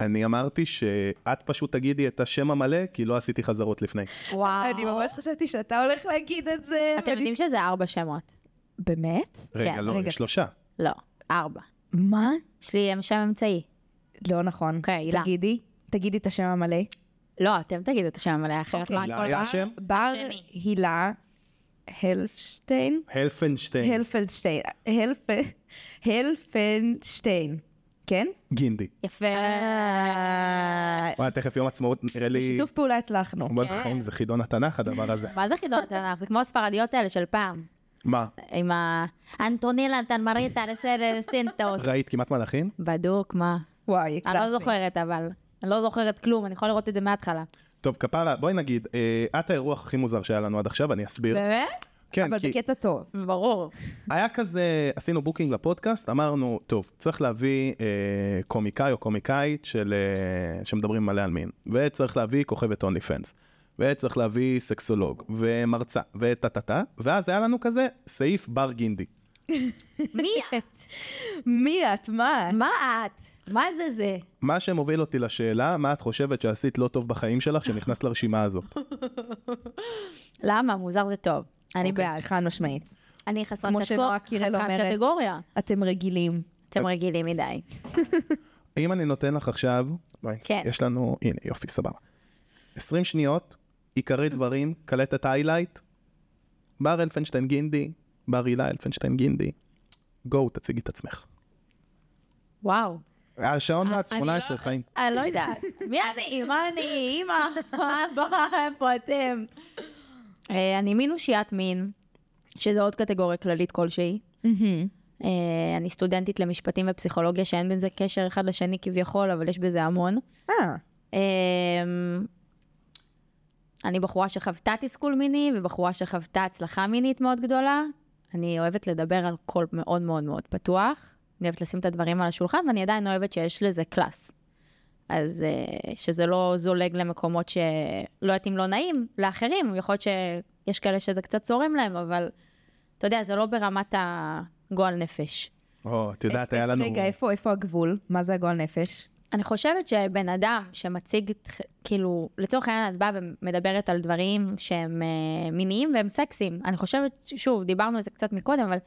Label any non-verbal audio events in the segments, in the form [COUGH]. אני אמרתי שאת פשוט תגידי את השם המלא, כי לא עשיתי חזרות לפני. כן, וואו. אני ממש חשבתי שאתה הולך להגיד את זה. אתם יודעים שזה ארבע שמות. באמת? רגע, כן, לא, רגע. שלושה. לא, ארבע. מה? יש לי אה, שם אמצעי. לא נכון. אוקיי, הילה. תגידי, תגידי את השם המלא. לא, אתם תגידו את השם המלא אחרת. אוקיי. מה? הילה היה השם? בר שני. הילה הלפשטיין? הלפנשטיין, הלפלדשטיין. הלפ- הלפנשטיין. כן? גינדי. יפה. אה, וואי, תכף יום עצמאות, נראה לי... בשיתוף פעולה הצלחנו. אומר כן. לך, חיים, זה חידון התנ"ך הדבר [LAUGHS] הזה. מה זה חידון התנ"ך? זה כמו הספרדיות האלה של פעם. מה, עם ה... אנטונילה, טנמריטה, לסדר, סינטוס. ראית כמעט מלאכים? בדוק, מה? וואי, אני קלאסי. לא זוכרת, אבל. אני לא זוכרת כלום, אני יכולה לראות את זה מההתחלה. טוב, כפרה, בואי נגיד, אה, את האירוח הכי מוזר שהיה לנו עד עכשיו, אני אסביר. באמת? כן, אבל כי בקטע טוב. ברור. היה כזה, עשינו בוקינג לפודקאסט, אמרנו, טוב, צריך להביא אה, קומיקאי או קומיקאית של, אה, שמדברים מלא על מין, וצריך להביא כוכבת אונלי פנס, וצריך להביא סקסולוג, ומרצה, וטה טה טה, ואז היה לנו כזה סעיף בר גינדי. מי את? מי את? מה? מה את? מה זה זה? מה שמוביל אותי לשאלה, מה את חושבת שעשית לא טוב בחיים שלך שנכנסת לרשימה הזאת? למה? מוזר זה טוב. אני אוקיי, בעד. חד משמעית. אני חסרת כמו קטגור- שנועה קירל חסרת אומרת. קטגוריה. אתם רגילים. אתם רגילים מדי. אם אני נותן לך עכשיו, וואי, כן. יש לנו, הנה יופי, סבבה. 20 שניות, עיקרי דברים, קלטת היילייט, בר אלפנשטיין גינדי, בר הילה אלפנשטיין גינדי, גו, תציגי את עצמך. וואו. השעון אני לא- מה-18 חיים. אני לא יודעת. מי אני? מה אני? [LAUGHS] אמא? מה הבא? איפה אתם? אה, אני מין אושיית מין, שזה עוד קטגוריה כללית כלשהי. אה, אני סטודנטית למשפטים ופסיכולוגיה, שאין בין זה קשר אחד לשני כביכול, אבל יש בזה המון. אה, אה, אמ, אני בחורה שחוותה תסכול מיני, ובחורה שחוותה הצלחה מינית מאוד גדולה. אני אוהבת לדבר על קול מאוד מאוד מאוד פתוח. אני אוהבת לשים את הדברים על השולחן, ואני עדיין אוהבת שיש לזה קלאס. אז אה, שזה לא זולג למקומות שלא יודעת אם לא נעים לאחרים, יכול להיות שיש כאלה שזה קצת צורם להם, אבל אתה יודע, זה לא ברמת הגועל נפש. או, את יודעת, היה לנו... רגע, איפה איפה הגבול? מה זה הגועל נפש? אני חושבת שבן אדם שמציג, את ח- כאילו, לצורך העניין את באה ומדברת על דברים שהם אה, מיניים והם סקסיים. אני חושבת, ש- שוב, דיברנו על זה קצת מקודם, אבל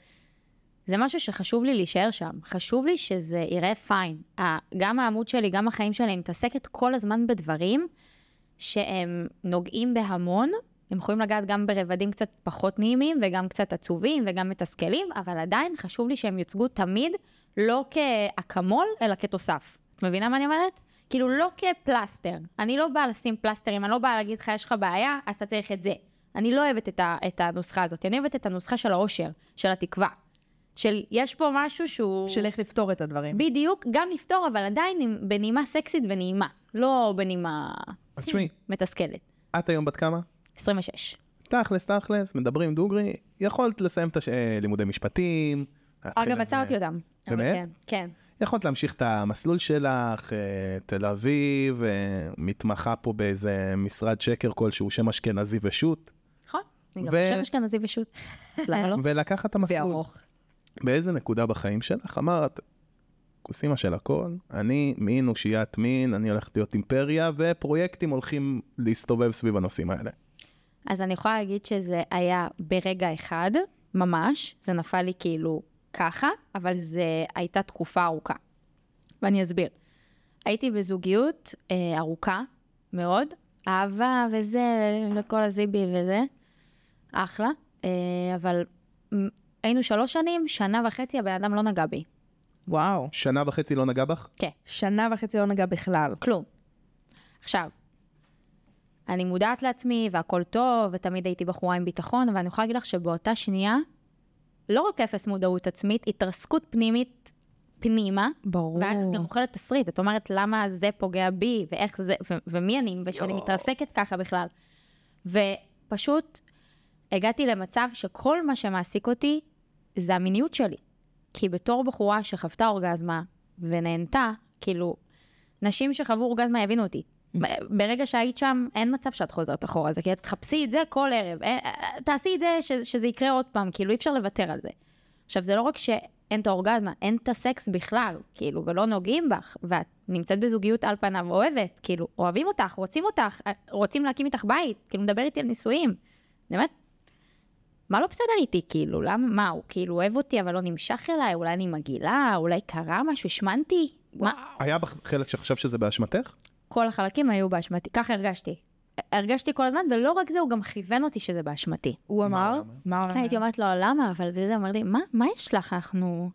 זה משהו שחשוב לי להישאר שם. חשוב לי שזה יראה פיין. ה- גם העמוד שלי, גם החיים שלי, אני מתעסקת כל הזמן בדברים שהם נוגעים בהמון. הם יכולים לגעת גם ברבדים קצת פחות נעימים וגם קצת עצובים וגם מתסכלים, אבל עדיין חשוב לי שהם יוצגו תמיד לא כאקמול, אלא כתוסף. את מבינה מה אני אומרת? כאילו לא כפלסטר. אני לא באה לשים פלסטרים, אני לא באה להגיד לך, יש לך בעיה, אז אתה צריך את זה. אני לא אוהבת את, ה, את הנוסחה הזאת, אני אוהבת את הנוסחה של האושר, של התקווה. של יש פה משהו שהוא... של איך לפתור את הדברים. בדיוק, גם לפתור, אבל עדיין עם- בנימה סקסית ונעימה. לא בנימה אז תשמעי, מתסכלת. את היום בת כמה? 26. תכלס, תכלס, מדברים דוגרי, יכולת לסיים את הלימודי משפטים. אה, להתחיל גם איזה- מצאתי אותם. אבל כן, באמת? כן, כן. יכולת להמשיך את המסלול שלך, אה, תל אביב, אה, מתמחה פה באיזה משרד שקר כלשהו, שם אשכנזי ושות', נכון? אני גם ו- חושב אשכנזי ושות. אז למה [LAUGHS] לא? ולקחת את המסלול. וארוך. באיזה נקודה בחיים שלך אמרת, כוסימה של הכל, אני מין אושיית מין, אני הולכת להיות אימפריה, ופרויקטים הולכים להסתובב סביב הנושאים האלה. אז אני יכולה להגיד שזה היה ברגע אחד, ממש, זה נפל לי כאילו ככה, אבל זה הייתה תקופה ארוכה. ואני אסביר. הייתי בזוגיות אה, ארוכה מאוד, אהבה וזה, לכל הזיבי וזה, אחלה, אה, אבל מ- היינו שלוש שנים, שנה וחצי הבן אדם לא נגע בי. וואו. שנה וחצי לא נגע בך? כן. שנה וחצי לא נגע בכלל. כלום. עכשיו, אני מודעת לעצמי והכל טוב, ותמיד הייתי בחורה עם ביטחון, ואני יכולה להגיד לך שבאותה שנייה, לא רק אפס מודעות עצמית, התרסקות פנימית פנימה. ברור. ואז את גם אוכלת תסריט, את אומרת למה זה פוגע בי, ואיך זה, ו- ומי אני, ושאני מתרסקת ככה בכלל. ופשוט הגעתי למצב שכל מה שמעסיק אותי זה המיניות שלי. כי בתור בחורה שחוותה אורגזמה ונהנתה, כאילו, נשים שחוו אורגזמה יבינו אותי. ב- ברגע שהיית שם, אין מצב שאת חוזרת אחורה, זה כי את תחפשי את זה כל ערב. אה, אה, תעשי את זה, ש- שזה יקרה עוד פעם, כאילו אי אפשר לוותר על זה. עכשיו, זה לא רק שאין את האורגזמה, אין את הסקס בכלל, כאילו, ולא נוגעים בך, ואת נמצאת בזוגיות על פניו, אוהבת, כאילו, אוהבים אותך, רוצים אותך, אה, רוצים להקים איתך בית, כאילו, מדבר איתי על נישואים. באמת, מה לא בסדר איתי, כאילו, למה, מה, הוא כאילו אוהב אותי אבל לא נמשך אליי, אולי אני מגעילה, אולי קרה משהו, השמנתי? מה? היה בך חלק שחשב שזה באשמתך? כל החלקים היו באשמתי, ככה הרגשתי. הרגשתי כל הזמן, ולא רק זה, הוא גם כיוון אותי שזה באשמתי. הוא מה אמר, הוא אמר? מה הוא אמר? הייתי אומרת לו, למה? אבל וזה אומר לי, מה, מה יש לך? אנחנו...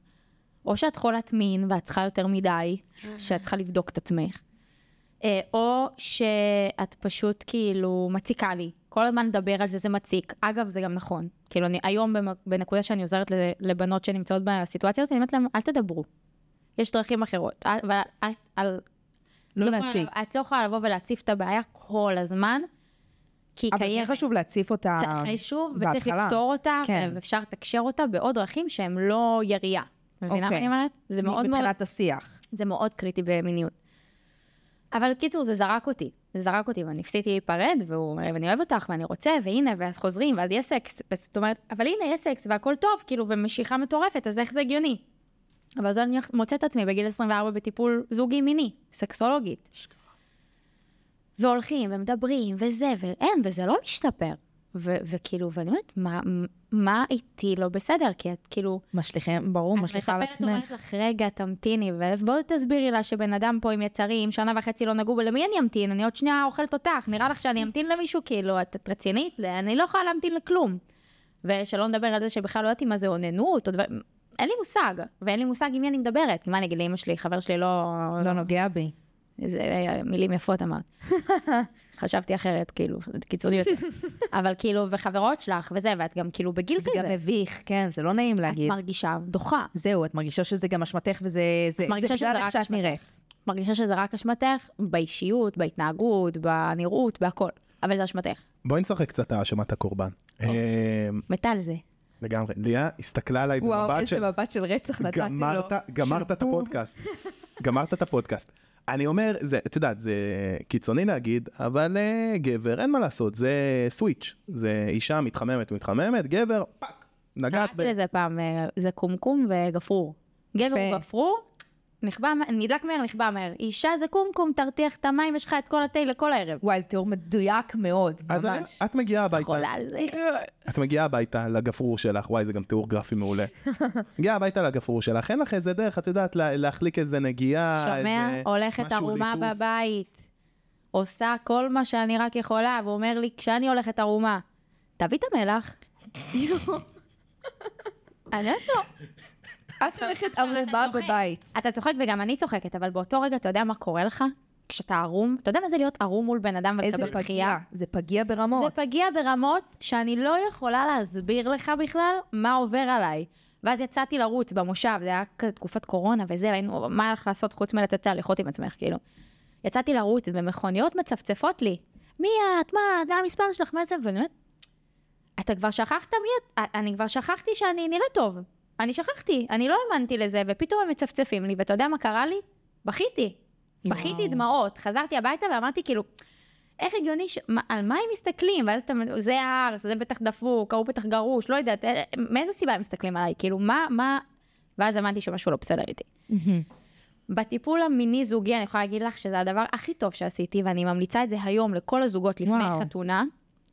או שאת חולת מין ואת צריכה יותר מדי, שאת צריכה לבדוק את עצמך, אה, או שאת פשוט כאילו מציקה לי. כל הזמן לדבר על זה, זה מציק. אגב, זה גם נכון. כאילו, אני היום במק- בנקודה שאני עוזרת ל- לבנות שנמצאות בסיטואציה הזאת, אני אומרת להם, אל תדברו. יש דרכים אחרות. אל, אבל אל, אל, לא את יכולה להציג. לב- את לא יכולה לבוא ולהציף את הבעיה כל הזמן, כי היא אבל כן קיימת. חשוב להציף אותה. צריך חשוב, וצריך בהתחלה. לפתור אותה, כן. ואפשר לתקשר אותה בעוד דרכים שהם לא ירייה. מבינה מה אוקיי. אני אומרת? זה מאוד מאוד, מבחינת השיח. זה מאוד קריטי במיניות. אבל קיצור, זה זרק אותי. זה זרק אותי, ואני הפסיתי להיפרד, והוא אומר לי, ואני אוהב אותך, ואני רוצה, והנה, ואז חוזרים, ואז יש סקס. זאת אומרת, אבל הנה, יש סקס, והכל טוב, כאילו, ומשיכה מטורפת, אז איך זה הגיוני? אבל אז אני מוצאת את עצמי בגיל 24 בטיפול זוגי מיני, סקסולוגית. והולכים ומדברים וזה, ואין, וזה לא משתפר. ו- וכאילו, ואני אומרת, מה, מה איתי לא בסדר? כי את כאילו... משליכים, ברור, את משליכה על מטפלת, אומרת עצמך. לך, רגע, תמתיני, ובואי תסבירי לה שבן אדם פה עם יצרים, שנה וחצי לא נגעו בו, למי אני אמתין? אני עוד שנייה אוכלת אותך, נראה לך שאני אמתין למישהו? כאילו, את, את רצינית? לא, אני לא יכולה להמתין לכלום. ושלא נדבר על זה שבכלל לא יודעת אם זה אוננות או דברים, אין לי מושג, ואין לי מושג עם מי אני מדברת. כי מה אני אגיד לאמא שלי, חבר שלי לא... לא נוגע בי. זה אה, מילים יפות [LAUGHS] אמרת. חשבתי אחרת, כאילו, קיצוניות. אבל כאילו, וחברות שלך, וזה, ואת גם כאילו בגיל זה גם כזה. מביך, כן, זה לא נעים את להגיד. מרגישה דוחה. זהו, את מרגישה שזה גם אשמתך וזה... זה- מרגישה זה שזה בגלל איך רק שאת אשמתך. נראית. מרגישה שזה רק אשמתך, באישיות, בהתנהגות, בנראות, בהכל. אבל זה אשמתך. בואי נשחק קצת האשמת הקורבן. אה, מתה על זה. לגמרי. ליה הסתכלה עליי במבט של... מבט של רצח גמרת, גמרת את הפודקאסט. [LAUGHS] גמרת את הפודקאסט. אני אומר, זה, את יודעת, זה קיצוני להגיד, אבל אה, גבר, אין מה לעשות, זה סוויץ'. זה אישה מתחממת, מתחממת, גבר, פאק, נגעת קראתי לזה פעם, אה, זה קומקום וגפרור. גבר יפה. הוא גפרור, נכבה, מה- נדלק מהר, נכבה מהר. אישה זה קומקום, תרתיח את המים, יש לך את כל התה לכל הערב. וואי, זה תיאור מדויק מאוד, אז [LAUGHS] ממש. את מגיעה הביתה, חולה על זה. את מגיעה הביתה לגפרור שלך, וואי, זה גם תיאור גרפי [LAUGHS] מעולה. מגיעה הביתה לגפרור שלך, אין לך איזה דרך, את יודעת, לה- להחליק איזה נגיעה, שומע? איזה הולכת אה, משהו ערומה ליטוף. בבית. עושה כל מה שאני רק יכולה, והוא אומר לי, כשאני הולכת ערומה, תביא את המלח. אני לא. אומרת לו, את הולכת ערומה צוחק. בבית. אתה צוחק וגם אני צוחקת, אבל באותו רגע אתה יודע מה קורה לך? כשאתה ערום, אתה יודע מה זה להיות ערום מול בן אדם איזה ולקבל פגיע. פגיעה? זה פגיע ברמות. זה פגיע ברמות שאני לא יכולה להסביר לך בכלל מה עובר עליי. ואז יצאתי לרוץ במושב, זה היה כזה תקופת קורונה וזה, והיינו, מה היה לך לעשות חוץ מלצאת להליכות עם עצמך, כאילו. יצאתי לרוץ, ומכוניות מצפצפות לי. מי את? מה? מה המספר שלך? מה זה? ואני אומרת, אתה כבר שכחת מי את? אה, אני כבר שכחתי שאני נראית טוב. אני שכחתי, אני לא האמנתי לזה, ופתאום הם מצפצפים לי, ואתה יודע מה קרה לי? בכיתי. וואו. בכיתי דמעות. חזרתי הביתה ואמרתי, כאילו, איך הגיוני, ש... מה, על מה הם מסתכלים? ואז אתה, זה הארס, זה בטח דפוק, ההוא בטח גרוש, לא יודעת, אה, מאיזה סיבה הם מסתכלים עליי? כאילו, מה, מה... ואז הבנתי שמשהו לא בסדר איתי. מהמם. בטיפול המיני זוגי, אני יכולה להגיד לך שזה הדבר הכי טוב שעשיתי, ואני ממליצה את זה היום לכל הזוגות לפני וואו. וואו. חתונה,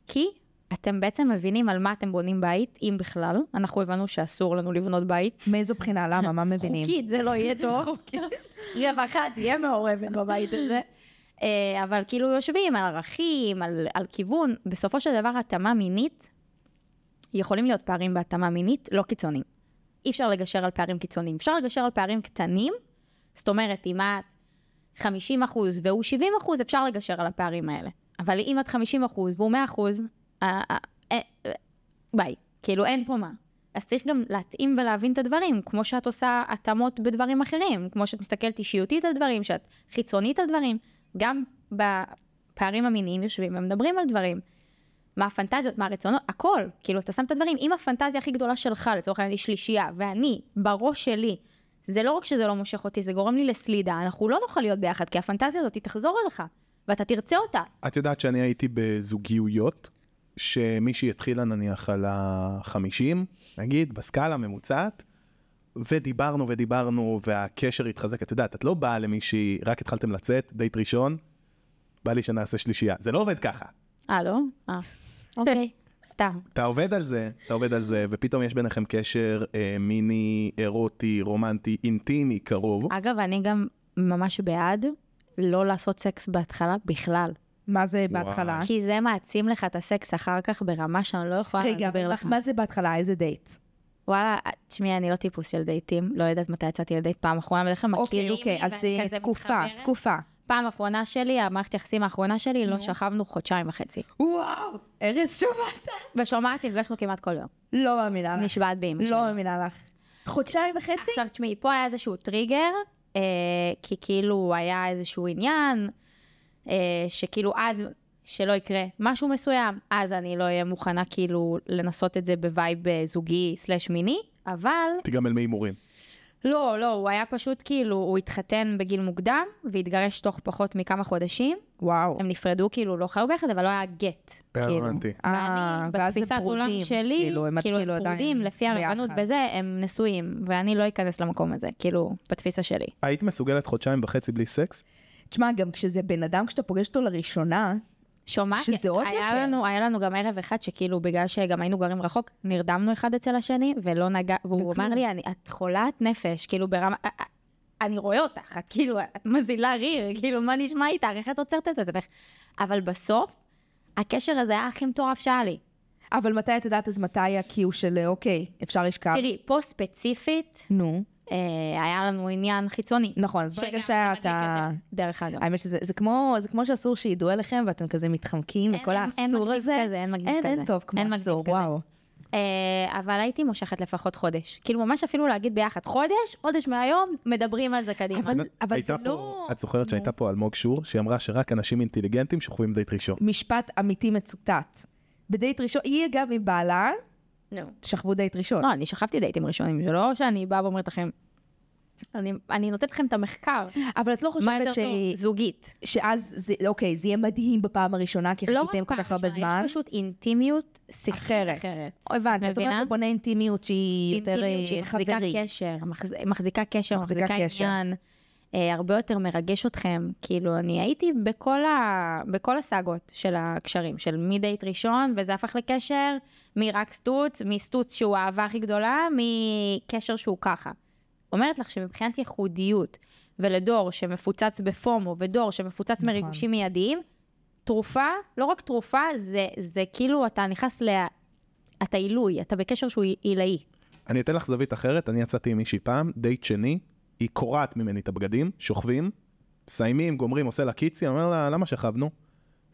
כי אתם בעצם מבינים על מה אתם בונים בית, אם בכלל. אנחנו הבנו שאסור לנו לבנות בית. מאיזו בחינה? למה? מה מבינים? חוקית זה לא יהיה טוב. [LAUGHS] רווחה תהיה מעורבת בבית הזה. אה, אבל כאילו יושבים על ערכים, על, על כיוון. בסופו של דבר, התאמה מינית, יכולים להיות פערים בהתאמה מינית, לא קיצוניים. אי אפשר לגשר על פערים קיצוניים. אפשר לגשר על פערים קטנים, זאת אומרת, אם את 50 אחוז והוא 70 אחוז, אפשר לגשר על הפערים האלה. אבל אם את 50 אחוז והוא 100 אחוז, אה, ביי. כאילו, אין פה מה. אז צריך גם להתאים ולהבין את הדברים, כמו שאת עושה התאמות בדברים אחרים, כמו שאת מסתכלת אישיותית על דברים, שאת חיצונית על דברים. גם בפערים המיניים יושבים ומדברים על דברים. מה הפנטזיות, מה הרצונות, הכל. כאילו, אתה שם את הדברים. אם הפנטזיה הכי גדולה שלך, לצורך העניין, היא שלישייה, ואני, בראש שלי, זה לא רק שזה לא מושך אותי, זה גורם לי לסלידה, אנחנו לא נוכל להיות ביחד, כי הפנטזיה הזאת היא תחזור אליך, ואתה תרצה אותה. את יודעת שאני הייתי בזוגיויות, שמישהי התחילה נניח על ה-50, נגיד, בסקאלה ממוצעת, ודיברנו ודיברנו, והקשר התחזק. את יודעת, את לא באה למישהי, רק התחלתם לצאת, דייט ראשון, בא לי שנעשה שלישייה. זה לא עובד ככה. אה, לא? אה, אוקיי, [LAUGHS] סתם. אתה עובד על זה, אתה עובד על זה, ופתאום יש ביניכם קשר אה, מיני, אירוטי, רומנטי, אינטימי, קרוב. אגב, אני גם ממש בעד לא לעשות סקס בהתחלה בכלל. מה זה בהתחלה? כי זה מעצים לך את הסקס אחר כך ברמה שאני לא יכולה רגע, להסביר מה- לך. מה זה בהתחלה? איזה דייט? וואלה, תשמעי, אני לא טיפוס של דייטים, לא יודעת מתי יצאתי לדייט פעם אחרונה, בדרך כלל אוקיי, מכירים אוקיי, לי אז ואני אה, כזה תקופה, מתחברת. תקופה. פעם אחרונה שלי, המערכת יחסים האחרונה שלי, לא שכבנו חודשיים וחצי. וואו, ארז שומעת? ושומעת, נפגשנו כמעט כל יום. לא מאמינה לך. נשבעת באמא שלי. לא מאמינה לך. חודשיים וחצי? עכשיו תשמעי, פה היה איזשהו טריגר, אה, כי כאילו היה איזשהו עניין, אה, שכאילו עד שלא יקרה משהו מסוים, אז אני לא אהיה מוכנה כאילו לנסות את זה בווייב אה, זוגי סלש מיני, אבל תיגמל מהימורים. לא, לא, הוא היה פשוט כאילו, הוא התחתן בגיל מוקדם, והתגרש תוך פחות מכמה חודשים, וואו. הם נפרדו, כאילו לא חיו ביחד, אבל לא היה גט. כאילו. הבנתי. אה, ואני, ואז זה בתפיסת עולם פרודים, שלי, כאילו, כאילו, הם הם כאילו עדיין פרודים, לפי ביחד. הרבנות וזה, הם נשואים, ואני לא אכנס למקום הזה, כאילו, בתפיסה שלי. היית מסוגלת חודשיים וחצי בלי סקס? תשמע, גם כשזה בן אדם, כשאתה פוגש אותו לראשונה, שומעת? שזה עוד היה יותר. לנו, היה לנו גם ערב אחד שכאילו, בגלל שגם היינו גרים רחוק, נרדמנו אחד אצל השני, ולא נגע, והוא וכלום. אמר לי, אני, את חולת נפש, כאילו ברמה... א- א- אני רואה אותך, את כאילו, את מזילה ריר, כאילו, מה נשמע איתך, איך את עוצרת את זה? ואיך- אבל בסוף, הקשר הזה היה הכי מטורף שהיה לי. אבל מתי את יודעת, אז מתי ה-Q של אוקיי, אפשר לשכב? תראי, פה ספציפית, נו. אה, היה לנו עניין חיצוני. נכון, אז ברגע שגם שהיה זה מדליק אתה... יותר, דרך אגב. האמת שזה זה כמו, זה כמו שאסור שידעו עליכם ואתם כזה מתחמקים אין- וכל אין- אין האסור מגניב הזה. כזה, אין מגניב אין, כזה. אין טוב כמו אין מגניב אסור, כזה. וואו. אה, אבל הייתי מושכת לפחות חודש. כאילו, ממש אפילו להגיד ביחד, חודש, חודש מהיום, מדברים על זה קדימה. אבל- אבל הייתה זה פה- לא- את זוכרת שהייתה פה אלמוג שור, שהיא אמרה שרק אנשים אינטליגנטים שוכבים דייט ראשון. משפט אמיתי מצוטט. בדייט ראשון, היא אגב עם בעלה, נו. שכבו דייט ראשון. לא, אני שכבתי דייטים ראשונים, זה לא שאני באה ואומרת לכם... אני, אני נותנת לכם את המחקר, אבל את לא מה יותר חושבת ש... טוב, זוגית. שאז, זה, אוקיי, זה יהיה מדהים בפעם הראשונה, כי לא חיכיתם רק כל פעם כך הרבה ראשונה, זמן. יש פשוט אינטימיות שיחית אחרת. אחרת. הבנתי, את אומרת מבינה? זה בונה אינטימיות שהיא יותר אה, אינטימיות שהיא מחזיקה חברית. קשר, מחז... מחזיקה קשר, מחזיקה מחזיקה, קשר. עניין, אה, הרבה יותר מרגש אתכם. כאילו, אני הייתי בכל, ה... בכל הסאגות של הקשרים, של מדייט ראשון, וזה הפך לקשר מרק סטוץ, מסטוץ שהוא האהבה הכי גדולה, מקשר שהוא ככה. אומרת לך שמבחינת ייחודיות, ולדור שמפוצץ בפומו, ודור שמפוצץ נכון. מריגושים מיידיים, תרופה, לא רק תרופה, זה, זה כאילו אתה נכנס ל... אתה עילוי, אתה בקשר שהוא עילאי. אני אתן לך זווית אחרת, אני יצאתי עם מישהי פעם, דייט שני, היא קורעת ממני את הבגדים, שוכבים, מסיימים, גומרים, עושה לה קיצי, אני אומר לה, למה שכבנו?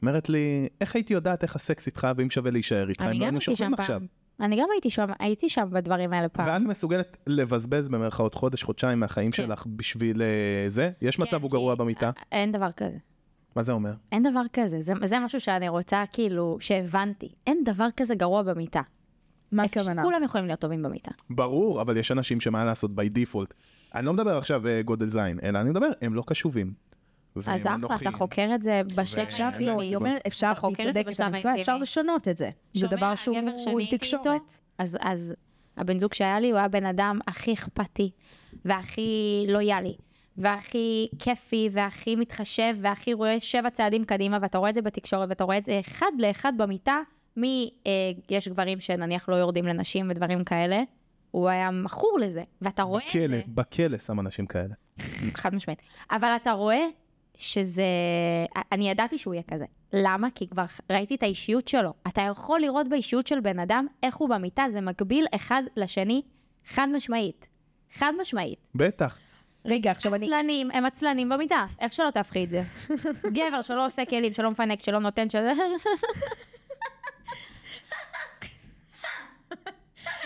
אומרת לי, איך הייתי יודעת איך הסקס איתך ואם שווה להישאר איתך, אני אם לא גם היינו הייתי שם שוכבים פעם. עכשיו. אני גם הייתי שם, הייתי שם בדברים האלה פעם. ואת מסוגלת לבזבז במרכאות חודש, חודשיים מהחיים כן. שלך בשביל אה, זה? יש מצב הוא כי- אה, גרוע במיטה? אין דבר כזה. מה זה אומר? אין דבר כזה. זה, זה משהו שאני רוצה, כאילו, שהבנתי. אין דבר כזה גרוע במיטה. מה אפשר- הכוונה? כולם יכולים להיות טובים במיטה. ברור, אבל יש אנשים שמה לעשות by default. אני לא מדבר עכשיו אה, גודל זין, אלא אני מדבר, הם לא קשובים. והם אז אחלה, אנוכיים. אתה חוקר את זה בשלב אפשר- האינטימי. לא, לא, היא אומרת, אפשר, אתה חוקר היא את זה צודקת, בשלב אני טועה, אפשר האינטימי. לשנות את זה. זה שומע, דבר הגבר שאני שהוא עם הייתי תקשורת. איתו, אז, אז הבן זוג שהיה לי, הוא היה בן אדם הכי אכפתי, והכי לויאלי, והכי כיפי, והכי מתחשב, והכי רואה שבע צעדים קדימה, ואתה רואה את זה בתקשורת, ואתה רואה את זה אחד לאחד במיטה, מ... אה, יש גברים שנניח לא יורדים לנשים ודברים כאלה. הוא היה מכור לזה, ואתה רואה את זה. בכלא, בכלא שם אנשים כאלה. חד משמעית. אבל אתה רואה שזה... אני ידעתי שהוא יהיה כזה. למה? כי כבר ראיתי את האישיות שלו. אתה יכול לראות באישיות של בן אדם איך הוא במיטה, זה מקביל אחד לשני חד משמעית. חד משמעית. בטח. רגע, עכשיו אני... עצלנים, הם עצלנים במיטה, איך שלא תהפכי את [LAUGHS] זה. גבר שלא עושה כלים, שלא מפנק, שלא [LAUGHS] נותן, שזה...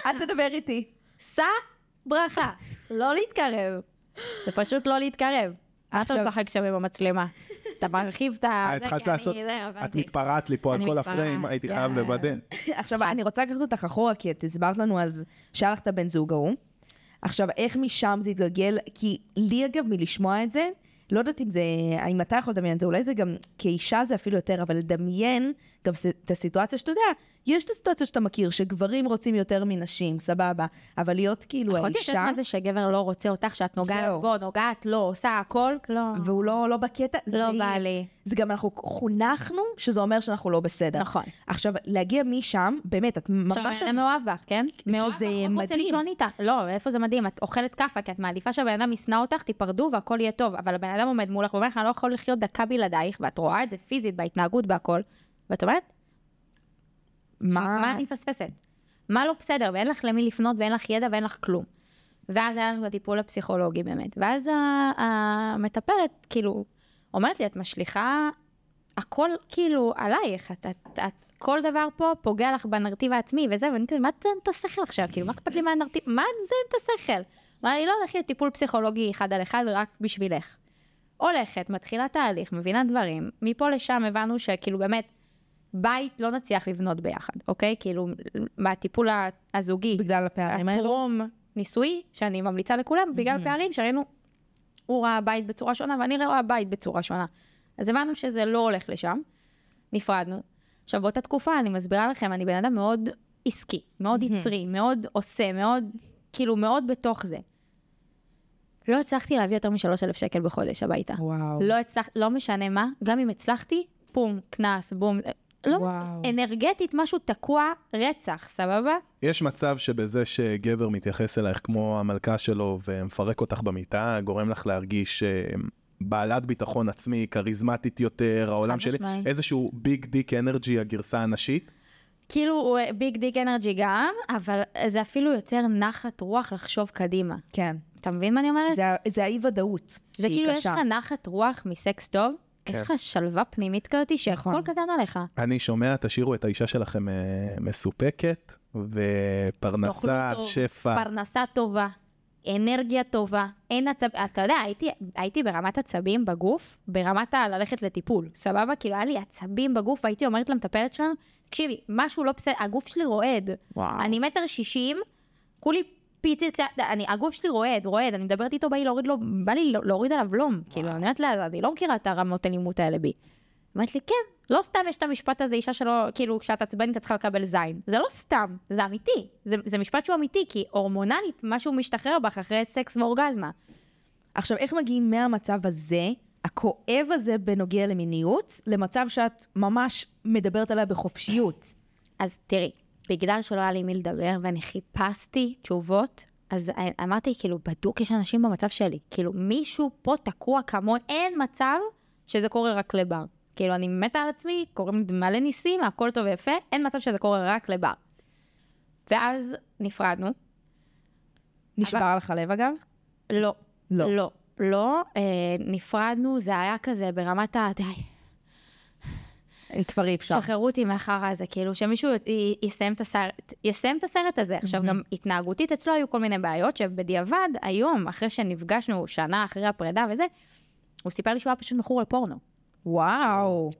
אל תדבר איתי. סע, ברכה. לא להתקרב. זה פשוט לא להתקרב. מה אתה עכשיו- משחק שם עם המצלמה? אתה מרחיב את ה... את אה, זה, התחלת כי אני- לעשות, זה, את הבנתי. מתפרעת לי פה על אני כל מתפרעת, כן. הפריים, הייתי חייב יאללה. לוודא. עכשיו, אני רוצה לקחת אותך אחורה, כי את הסברת לנו אז שהיה לך את הבן זוג ההוא. עכשיו, איך משם זה התגלגל? כי לי, אגב, מלשמוע את זה, לא יודעת אם זה, אם אתה יכול לדמיין את זה, אולי זה גם, כאישה זה אפילו יותר, אבל לדמיין גם ס- את הסיטואציה שאתה יודע, יש את הסיטואציה שאתה מכיר, שגברים רוצים יותר מנשים, סבבה, אבל להיות כאילו יכולתי האישה, לדעת מה זה שגבר לא רוצה אותך, שאת זהו. נוגעת בו, נוגעת לו, עושה הכל, לא, והוא לא, לא בקטע, לא זה- בא לי. זה גם אנחנו חונכנו, שזה אומר שאנחנו לא בסדר. נכון. עכשיו, להגיע משם, באמת, את ממש... לא. עכשיו, אני מאוהב בך, כן? מאוהב זה בך, רק רוצה מדהים. לישון איתך. לא, איפה זה מדהים? את אוכלת כאפה, כי את מעדיפה שהבן אדם ישנא אותך, תיפרדו והכל יהיה טוב. אבל הבן אדם עומד מולך ואומר לך, אני לא יכול לחיות דקה בלעדייך, ואת רואה את זה פיזית, בהתנהגות, בהכל. ואת אומרת, מה אני מפספסת? מה לא בסדר? ואין לך למי לפנות, ואין לך ידע, ואין לך כלום. ואז היה לנו את הטיפול הפסיכולוגי באמת. ואז ה- המטפלת, כאילו, אומרת לי, את משליכה הכל כאילו עלייך, את, את, את, כל דבר פה פוגע לך בנרטיב העצמי וזה, ואני כאילו, מה תזיין את השכל עכשיו? כאילו, מה אכפת לי מהנרטיב? מה תזיין את השכל? אמרה לי, לא, לכי לטיפול פסיכולוגי אחד על אחד רק בשבילך. הולכת, מתחילה תהליך, מבינה דברים, מפה לשם הבנו שכאילו באמת, בית לא נצליח לבנות ביחד, אוקיי? כאילו, מהטיפול ה- הזוגי, בגלל הפערים האלה. הטרום נישואי, שאני ממליצה לכולם, Mm-hmm. בגלל פערים שראינו, הוא ראה בית בצורה שונה ואני רואה בית בצורה שונה. אז הבנו שזה לא הולך לשם, נפרדנו. עכשיו, באותה תקופה, אני מסבירה לכם, אני בן אדם מאוד עסקי, מאוד Mm-hmm. יצרי, מאוד עושה, מאוד, כאילו, מאוד בתוך זה. לא הצלחתי להביא יותר משלוש אלף שקל בחודש הביתה. וואו. לא הצלחתי, לא משנה מה, גם אם הצלחתי, בום, קנס, בום. לא, וואו. אנרגטית משהו תקוע, רצח, סבבה? יש מצב שבזה שגבר מתייחס אלייך כמו המלכה שלו ומפרק אותך במיטה, גורם לך להרגיש אה, בעלת ביטחון עצמי, כריזמטית יותר, העולם שלי, משמעי. איזשהו ביג דיק אנרגי, הגרסה הנשית. כאילו הוא ביג דיק אנרגי גם, אבל זה אפילו יותר נחת רוח לחשוב קדימה. כן. אתה מבין מה אני אומרת? זה, זה ה- זה האי-ודאות. זה שהיא כאילו יש קשה. לך נחת רוח מסקס טוב, כן. יש לך שלווה פנימית כזאת שהכל נכון. קטן עליך. אני שומע, תשאירו את האישה שלכם אה, מסופקת, ופרנסה, תאכלו טוב, שפע. פרנסה טובה, אנרגיה טובה, אין עצב... אתה יודע, הייתי, הייתי ברמת עצבים בגוף, ברמת ה- ללכת לטיפול, סבבה? כאילו, היה לי עצבים בגוף, והייתי אומרת למטפלת שלנו, תקשיבי, משהו לא בסדר, הגוף שלי רועד. וואו. אני מטר שישים, כולי פיצית, אני, הגוף שלי רועד, רועד, אני מדברת איתו, בא לי להוריד לו, בא לי להוריד עליו לום. כאילו, אני אומרת לה, אני לא מכירה את הרמות אלימות האלה בי. אמרת לי, כן, לא סתם יש את המשפט הזה, אישה שלא, כאילו, כשאת עצבנית את צריכה לקבל זין. זה לא סתם, זה אמיתי. זה, זה משפט שהוא אמיתי, כי הורמונלית, משהו משתחרר בך אחרי סקס ואורגזמה. עכשיו, איך מגיעים מהמצב הזה, הכואב הזה בנוגע למיניות, למצב שאת ממש מדברת עליה בחופשיות? אז תראי, בגלל שלא היה לי מי לדבר ואני חיפשתי תשובות, אז אמרתי, כאילו, בדוק יש אנשים במצב שלי. כאילו, מישהו פה תקוע כמוני, אין מצב שזה קורה רק לבר. כאילו, אני מתה על עצמי, קוראים לי מלא ניסים, הכל טוב ויפה, אין מצב שזה קורה רק לבר. ואז נפרדנו. נשבר לך לב אגב? לא. לא. לא. לא, אה, נפרדנו, זה היה כזה ברמת ה... די, לא. אה, כבר אי אפשר. שחררו אותי מהחרא הזה, כאילו שמישהו י- י- יסיים את הסרט, יסיים את הסרט הזה. עכשיו, גם התנהגותית אצלו היו כל מיני בעיות, שבדיעבד, היום, אחרי שנפגשנו שנה אחרי הפרידה וזה, הוא סיפר לי שהוא היה פשוט מכור לפורנו. וואו.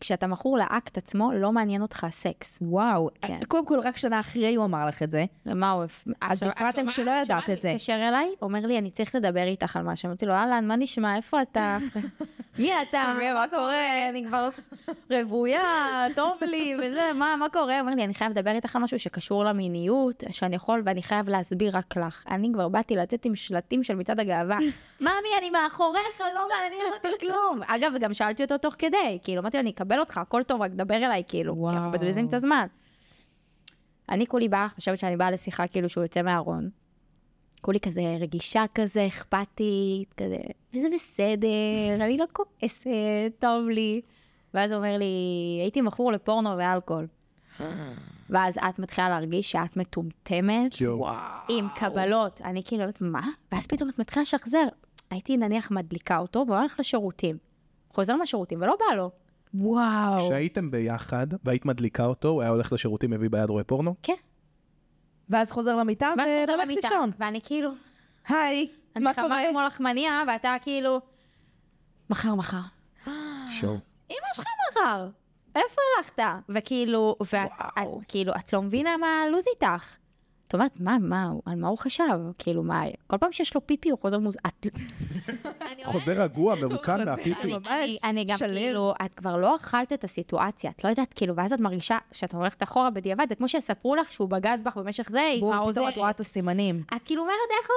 כשאתה מכור לאקט עצמו, לא מעניין אותך הסקס. וואו. כן. קודם כל, רק שנה אחרי הוא אמר לך את זה. ומה הוא... הפ- עכשיו- נפרדתם עכשיו, כשלא מה- ידעת עכשיו את זה. הוא התקשר אליי, אומר לי, אני צריך לדבר איתך על משהו. אמרתי לו, אהלן, מה נשמע? איפה [LAUGHS] אתה? מי אתה? מה קורה? אני כבר רוויה, טוב לי, וזה, מה, מה קורה? אומר לי, אני חייב לדבר איתך על משהו שקשור למיניות, שאני יכול, ואני חייב להסביר רק לך. אני כבר באתי לצאת עם שלטים של מצעד הגאווה. מאמי, אני מאחוריך, לא מעניין אותי כלום. אגב, גם שאלתי אותו תוך כדי, כאילו, אמרתי לו, אני אקבל אותך, הכל טוב, רק דבר אליי, כאילו, כי אנחנו וואו. מבזבזים את הזמן. אני כולי באה, חושבת שאני באה לשיחה כאילו שהוא יוצא מהארון. כולי כזה רגישה כזה, אכפתית, כזה, וזה בסדר, אני לא כועסת, טוב לי. ואז הוא אומר לי, הייתי מכור לפורנו ואלכוהול. ואז את מתחילה להרגיש שאת מטומטמת, יואו. עם קבלות. אני כאילו אומרת, מה? ואז פתאום את מתחילה לשחזר. הייתי נניח מדליקה אותו, והוא הולך לשירותים. חוזר מהשירותים, ולא בא אה, לו. וואו. כשהייתם ביחד והיית מדליקה אותו, הוא היה הולך לשירותים, מביא ביד רואה פורנו? כן. ואז חוזר למיטה ואז חוזר ולך למיטה. לישון. ואני כאילו, היי, אני מה חמה קורה? כמו לחמניה, ואתה כאילו, מחר, מחר. שואו. אמא שלך מחר, איפה הלכת? וכאילו, ואת וואו. את- כאילו, את לא מבינה מה הלו"ז איתך. את אומרת, מה, מה, הוא- על מה הוא חשב? כאילו, מה, כל פעם שיש לו פיפי הוא חוזר מוז... [LAUGHS] את... אני אומרת, חוזר רגוע, מרוקן מהפיפי. [LAUGHS] אני- אני- ממש אני גם שלם. כאילו, את כבר לא אכלת את הסיטואציה, את לא יודעת, כאילו, ואז את מרגישה שאת הולכת אחורה בדיעבד, זה כמו שיספרו לך שהוא בגד בך במשך זה, היא בואו, פתאום העוזרת. את רואה את הסימנים. את כאילו אומרת, איך לא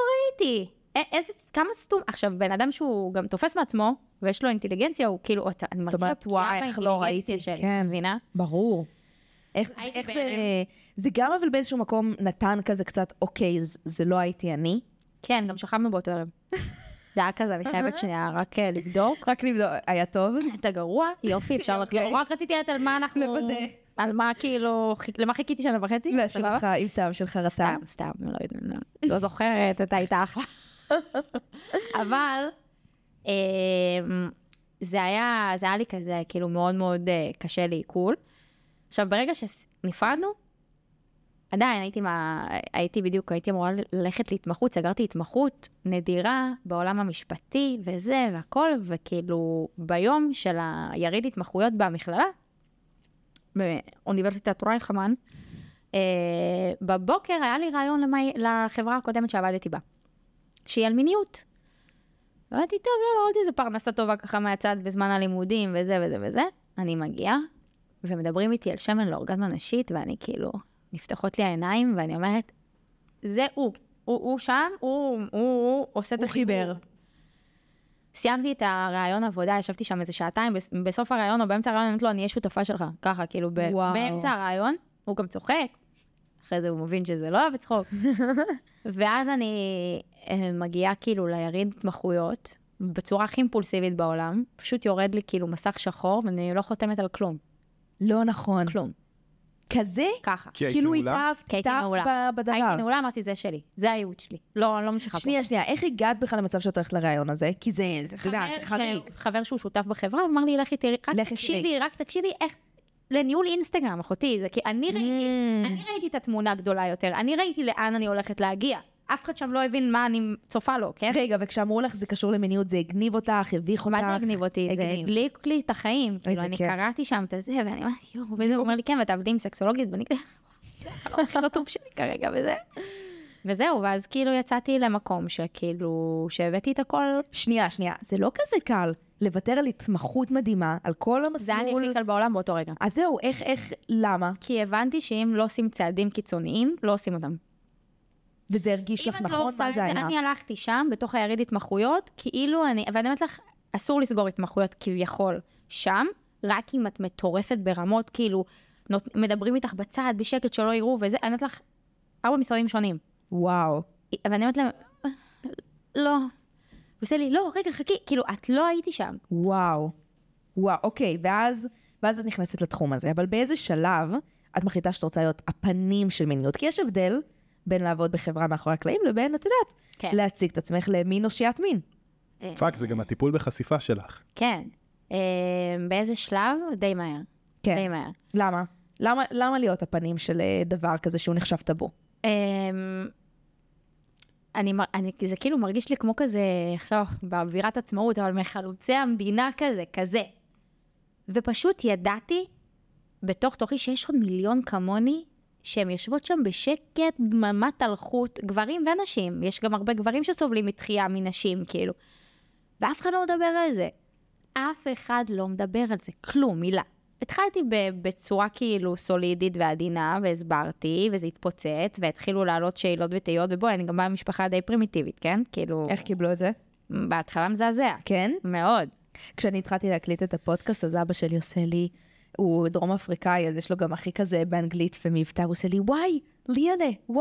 ראיתי? א- איזה, כמה סתום. עכשיו, בן אדם שהוא גם תופס מעצמו, ויש לו אינטליגנציה, הוא כאילו, אתה- אני מרגישה אומרת, פגיעה וואי, איך לא באינטליגנציה ראיתי, שלי, כן. את מבינה? ברור. איך, הייתי איך זה... אה, בהלם. זה גם אבל באיזשהו מקום נתן כזה קצת, אוקיי, ז- זה לא הייתי אני. כן, גם שכבנו באותו [LAUGHS] ערב. זה היה כזה, אני חייבת שנייה רק אה, לבדוק. רק לבדוק, היה [LAUGHS] טוב. [LAUGHS] אתה גרוע? יופי, [LAUGHS] אפשר לחזור. אוקיי. רק רציתי לדעת על מה אנחנו... לוודא. על מה כאילו, חיכ- למה חיכיתי שנה וחצי? להשאיר סבבה? אותך עם טעם של חרטה. סתם, סתם, לא יודעת, לא- לא זוכרת, אתה היית אחלה. [LAUGHS] אבל אמ, זה היה, זה היה לי כזה, כאילו, מאוד מאוד אה, קשה לעיכול. עכשיו, ברגע שנפרדנו, עדיין הייתי, מה, הייתי בדיוק, הייתי אמורה ללכת להתמחות, סגרתי התמחות נדירה בעולם המשפטי וזה והכל, וכאילו, ביום של היריד התמחויות במכללה, באוניברסיטת רייכמן, אה, בבוקר היה לי רעיון למי, לחברה הקודמת שעבדתי בה, שהיא על מיניות. אמרתי, טוב, יאללה, עוד איזה פרנסה טובה ככה מהצד בזמן הלימודים, וזה וזה וזה. אני מגיעה, ומדברים איתי על שמן לאורגזמה נשית, ואני כאילו, נפתחות לי העיניים, ואני אומרת, זה הוא. הוא, הוא שם, הוא, הוא, הוא עושה את הוא החיבור. חיבר. סיימתי את הראיון עבודה, ישבתי שם איזה שעתיים, בס- בסוף הראיון או באמצע הראיון, אני אומרת לו, אני אהיה שותפה שלך. ככה, כאילו, ב- וואו. באמצע הראיון, הוא גם צוחק, אחרי זה הוא מבין שזה לא היה [LAUGHS] בצחוק. ואז אני אה, מגיעה כאילו ליריד התמחויות, בצורה הכי אימפולסיבית בעולם, פשוט יורד לי כאילו מסך שחור, ואני לא חותמת על כלום, לא נכון. כלום, כזה? ככה. כי היית כאילו מעולה? התאהבת, כי הייתי התאהבת נעולה. ב- הייתי בדבר. נעולה, אמרתי, זה שלי, זה הייעוד שלי. לא, אני לא ממשיכה פה. שנייה, שנייה, איך הגעת בכלל למצב שאת הולכת לראיון הזה? כי זה, זה, אתה יודעת, זה ש- חריג. חבר שהוא שותף בחברה, אמר לי, לכי תראי, רק לכי תקשיבי, רק תקשיבי איך... לניהול אינסטגרם, אחותי, זה כי אני ראיתי, Mm. אני ראיתי את התמונה הגדולה יותר, אני ראיתי לאן אני הולכת להגיע. אף אחד שם לא הבין מה אני צופה לו, כן? רגע, וכשאמרו לך זה קשור למיניות, זה הגניב אותך, הביך אותך. מה זה הגניב אותי? זה הגניב. הדליק לי את החיים. כאילו, אני כיף. קראתי שם את הזה, ואני אומרת, יואו, וזה אומר לי, כן, ואת עבדי עם סקסולוגית, ואני כזה, "וואו, זה הכי לא טוב שלי כרגע, וזה. וזהו, ואז כאילו יצאתי למקום שכאילו, שהבאתי את הכל, שנייה, שנייה, זה לא כזה קל לוותר על התמחות מדהימה, על כל המסלול. זה היה לי הכי קל בעולם באותו רגע. אז זהו, איך, איך, למה? כי הבנתי שאם לא עושים צעדים קיצוניים, לא עושים אותם. וזה הרגיש לך אם את לא נכון עושה מה את זה היה. אני הלכתי שם, בתוך היריד התמחויות, כאילו אני, ואני אומרת לך, אסור לסגור התמחויות כביכול שם, רק אם את מטורפת ברמות, כאילו, נות, מדברים איתך בצד, בשקט, שלא יראו וזה, אני אומרת לך, ארבע משרדים שונים. וואו. ואני אומרת להם, "אה, לא. הוא עושה לי, לא, רגע, חכי, כאילו, את לא הייתי שם. וואו. וואו, אוקיי, ואז, ואז את נכנסת לתחום הזה, אבל באיזה שלב את מחליטה שאת רוצה להיות הפנים של מיניות? כי יש הבדל בין לעבוד בחברה מאחורי הקלעים לבין, את יודעת, כן. להציג את עצמך למין אושיית מין. פאק, זה גם הטיפול בחשיפה שלך. אה, כן. אה, באיזה שלב? די מהר. כן. די מהר. למה? למה, למה להיות הפנים של אה, דבר כזה שהוא נחשב טאבו? אמ, אני, מר- אני, זה כאילו מרגיש לי כמו כזה, עכשיו, באווירת עצמאות, אבל מחלוצי המדינה כזה, כזה. ופשוט ידעתי, בתוך תוכי, שיש עוד מיליון כמוני, שהן יושבות שם בשקט, דממת אלחוט, גברים ונשים. יש גם הרבה גברים שסובלים מתחייה מנשים, כאילו. ואף אחד לא מדבר על זה. אף אחד לא מדבר על זה, כלום, מילה. התחלתי ב- בצורה כאילו סולידית ועדינה, והסברתי, וזה התפוצץ, והתחילו לעלות שאלות ותהיות, ובואי, אני גם באה ממשפחה די פרימיטיבית, כן? כאילו, איך קיבלו את זה? בהתחלה מזעזע. כן? מאוד. כשאני התחלתי להקליט את הפודקאסט, אז אבא שלי עושה לי, הוא דרום אפריקאי, אז יש לו גם הכי כזה באנגלית ומבטא, הוא עושה לי, why, ליאנה, why,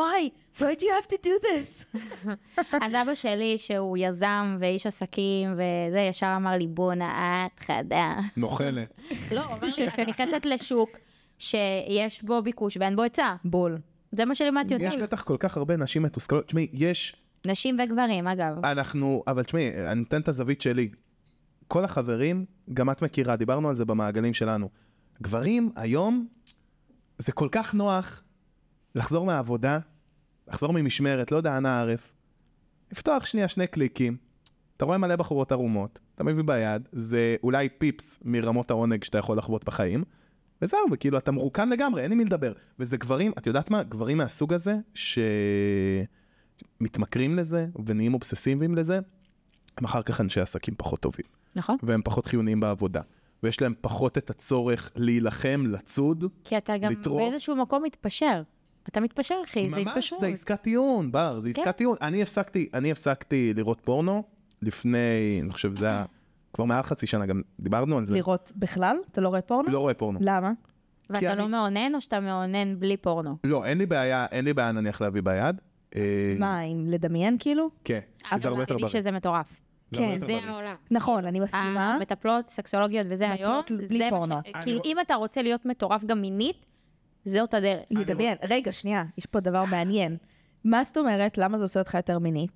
why do you have to do this? אז אבא שלי, שהוא יזם ואיש עסקים וזה, ישר אמר לי, בואנה, את חדה. נוכלת. [LAUGHS] לא, אומר לי, את נכנסת לשוק שיש בו ביקוש ואין בו היצע. בול. זה מה שלימדתי יש אותי. בטח כל כך הרבה נשים מתוסכלות. תשמעי, יש נשים וגברים, אגב. אה, אנחנו, אבל תשמעי, אני אתן את הזווית שלי. כל החברים, גם את מכירה, דיברנו על זה במעגלים שלנו. גברים, היום, זה כל כך נוח לחזור מהעבודה, לחזור ממשמרת, לא יודע, אנא ערף, לפתוח שנייה שני קליקים, אתה רואה מלא בחורות ערומות, אתה מביא ביד, זה אולי פיפס מרמות העונג שאתה יכול לחוות בחיים, וזהו, וכאילו, אתה מרוקן לגמרי, אין עם מי לדבר. וזה גברים, את יודעת מה? גברים מהסוג הזה, שמתמכרים לזה, ונהיים אובססיביים לזה, הם אחר כך אנשי עסקים פחות טובים. נכון. והם פחות חיוניים בעבודה. ויש להם פחות את הצורך להילחם, לצוד. כי אתה גם לטרוף. באיזשהו מקום מתפשר. אתה מתפשר, אחי, זה ממש, התפשרות. זה עסקת טיעון, בר, זה כן. עסקת טיעון. אני הפסקתי, אני הפסקתי לראות פורנו לפני, אני חושב שזה היה כבר מעל חצי שנה, גם דיברנו על זה. לראות בכלל? אתה לא רואה פורנו? לא רואה פורנו. למה? כי ואתה אני- לא מאונן או שאתה מאונן בלי פורנו? לא, אין לי בעיה, אין לי בעיה נניח להביא ביד. אה, מה, עם לדמיין כאילו? כן, אבל זה הרבה יותר תגידי בריא. אוקיי, שזה מטורף. זה הרבה כן, יותר זה בריא. העולם. נכון, אני אה, מסכימה. המטפלות, סקסולוגיות וזה היום, מצות בלי זה פורנו. מה ש... אני לא- כאילו, רוא- אם אתה רוצה להיות מטורף גם מינית, זאת הדרך. לדמיין. רגע, שנייה, יש פה דבר מעניין. מה זאת אומרת? למה זה עושה אותך יותר מיני?